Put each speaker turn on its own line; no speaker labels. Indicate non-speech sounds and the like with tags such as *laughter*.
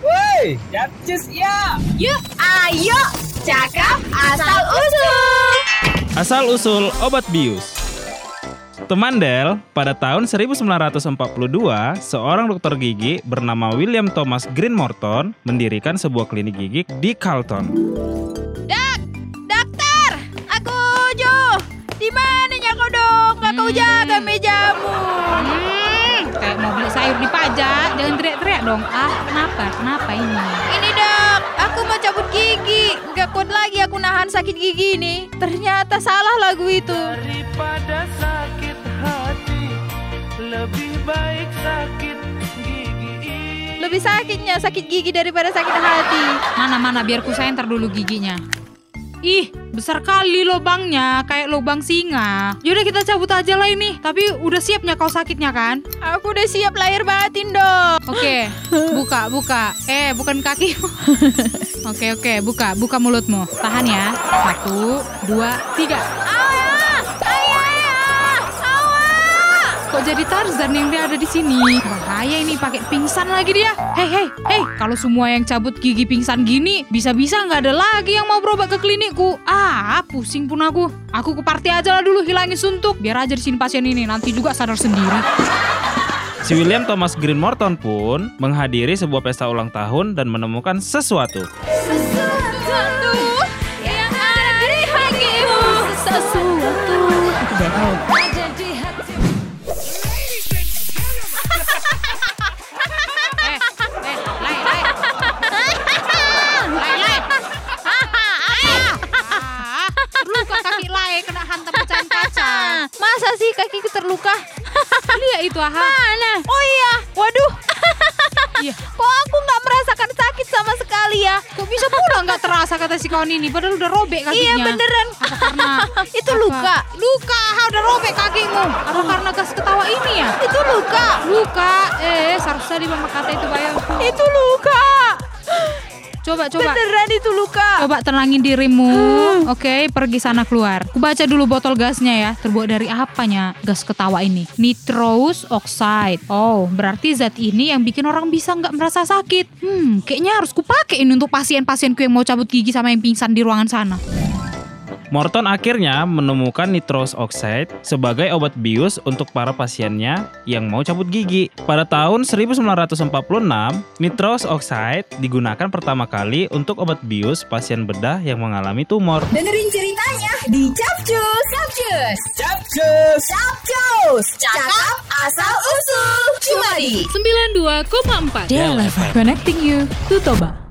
Yeay, Yacis ya.
Yuk, ayo cakap asal usul.
Asal usul obat bius. Temandel, pada tahun 1942, seorang dokter gigi bernama William Thomas Green Morton mendirikan sebuah klinik gigi di Carlton.
Dak, dokter, aku Jo. Di mana ya kau dong? Gak kau jaga mejamu.
Hmm, kayak mau beli sayur dipajak, jangan teriak-teriak dong. Ah, kenapa? Kenapa ini?
Ini dok, aku mau cabut gigi. Gak kuat lagi aku nahan sakit gigi ini. Ternyata salah lagu itu.
Daripada sakit hati Lebih baik sakit gigi
Lebih sakitnya sakit gigi daripada sakit hati.
Mana-mana biar ku senter dulu giginya. Ih, besar kali lubangnya, kayak lubang singa. Yaudah kita cabut aja lah ini. Tapi udah siapnya kau sakitnya kan?
Aku udah siap lahir batin dok.
Oke, buka, buka. Eh, bukan kaki. oke, oke, buka, buka mulutmu. Tahan ya. Satu, dua, tiga. Kok jadi Tarzan yang dia ada di sini? Bahaya ini pakai pingsan lagi dia. Hei, hei, hei. Kalau semua yang cabut gigi pingsan gini, bisa-bisa nggak ada lagi yang mau berobat ke klinikku. Ah, pusing pun aku. Aku ke party aja lah dulu hilangin suntuk. Biar aja di sini pasien ini, nanti juga sadar sendiri.
Si William Thomas Green Morton pun menghadiri sebuah pesta ulang tahun dan menemukan sesuatu.
Sesuatu yang ada di hatimu. Sesuatu. Ada di hatimu.
Eh, eh, lai, lai. Lai, lai. Ah, Luka kaki lai kena hantam pecahan kaca. *laughs*
*laughs* Masa sih kakiku terluka?
Lihat Iya itu, Aha.
Mana? Oh iya, waduh. *laughs*
Iya.
Kok aku nggak merasakan sakit sama sekali ya?
Kok bisa pula nggak terasa kata si kawan ini? Padahal udah robek
Iya
kakinya.
beneran.
Apa karena?
*laughs* Itu
apa?
luka.
Luka, Aha, udah robek kakimu. Apa karena gas ketawa ini ya?
Itu luka.
Luka, eh, seharusnya di mama kata itu bayangku.
Itu luka.
Coba, coba.
Beneran itu luka.
Coba tenangin dirimu, oke? pergi sana keluar. Aku baca dulu botol gasnya ya. Terbuat dari apanya? Gas ketawa ini. Nitrous oxide. Oh, berarti zat ini yang bikin orang bisa nggak merasa sakit. Hmm, kayaknya harus kupakai ini untuk pasien-pasienku yang mau cabut gigi sama yang pingsan di ruangan sana.
Morton akhirnya menemukan nitrous oxide sebagai obat bius untuk para pasiennya yang mau cabut gigi. Pada tahun 1946, nitrous oxide digunakan pertama kali untuk obat bius pasien bedah yang mengalami tumor.
Dengerin ceritanya di Capcus. Capcus.
Capcus.
Capcus. Cakap asal usul. Cuma di
92,4
Del FM.
Connecting you to Toba.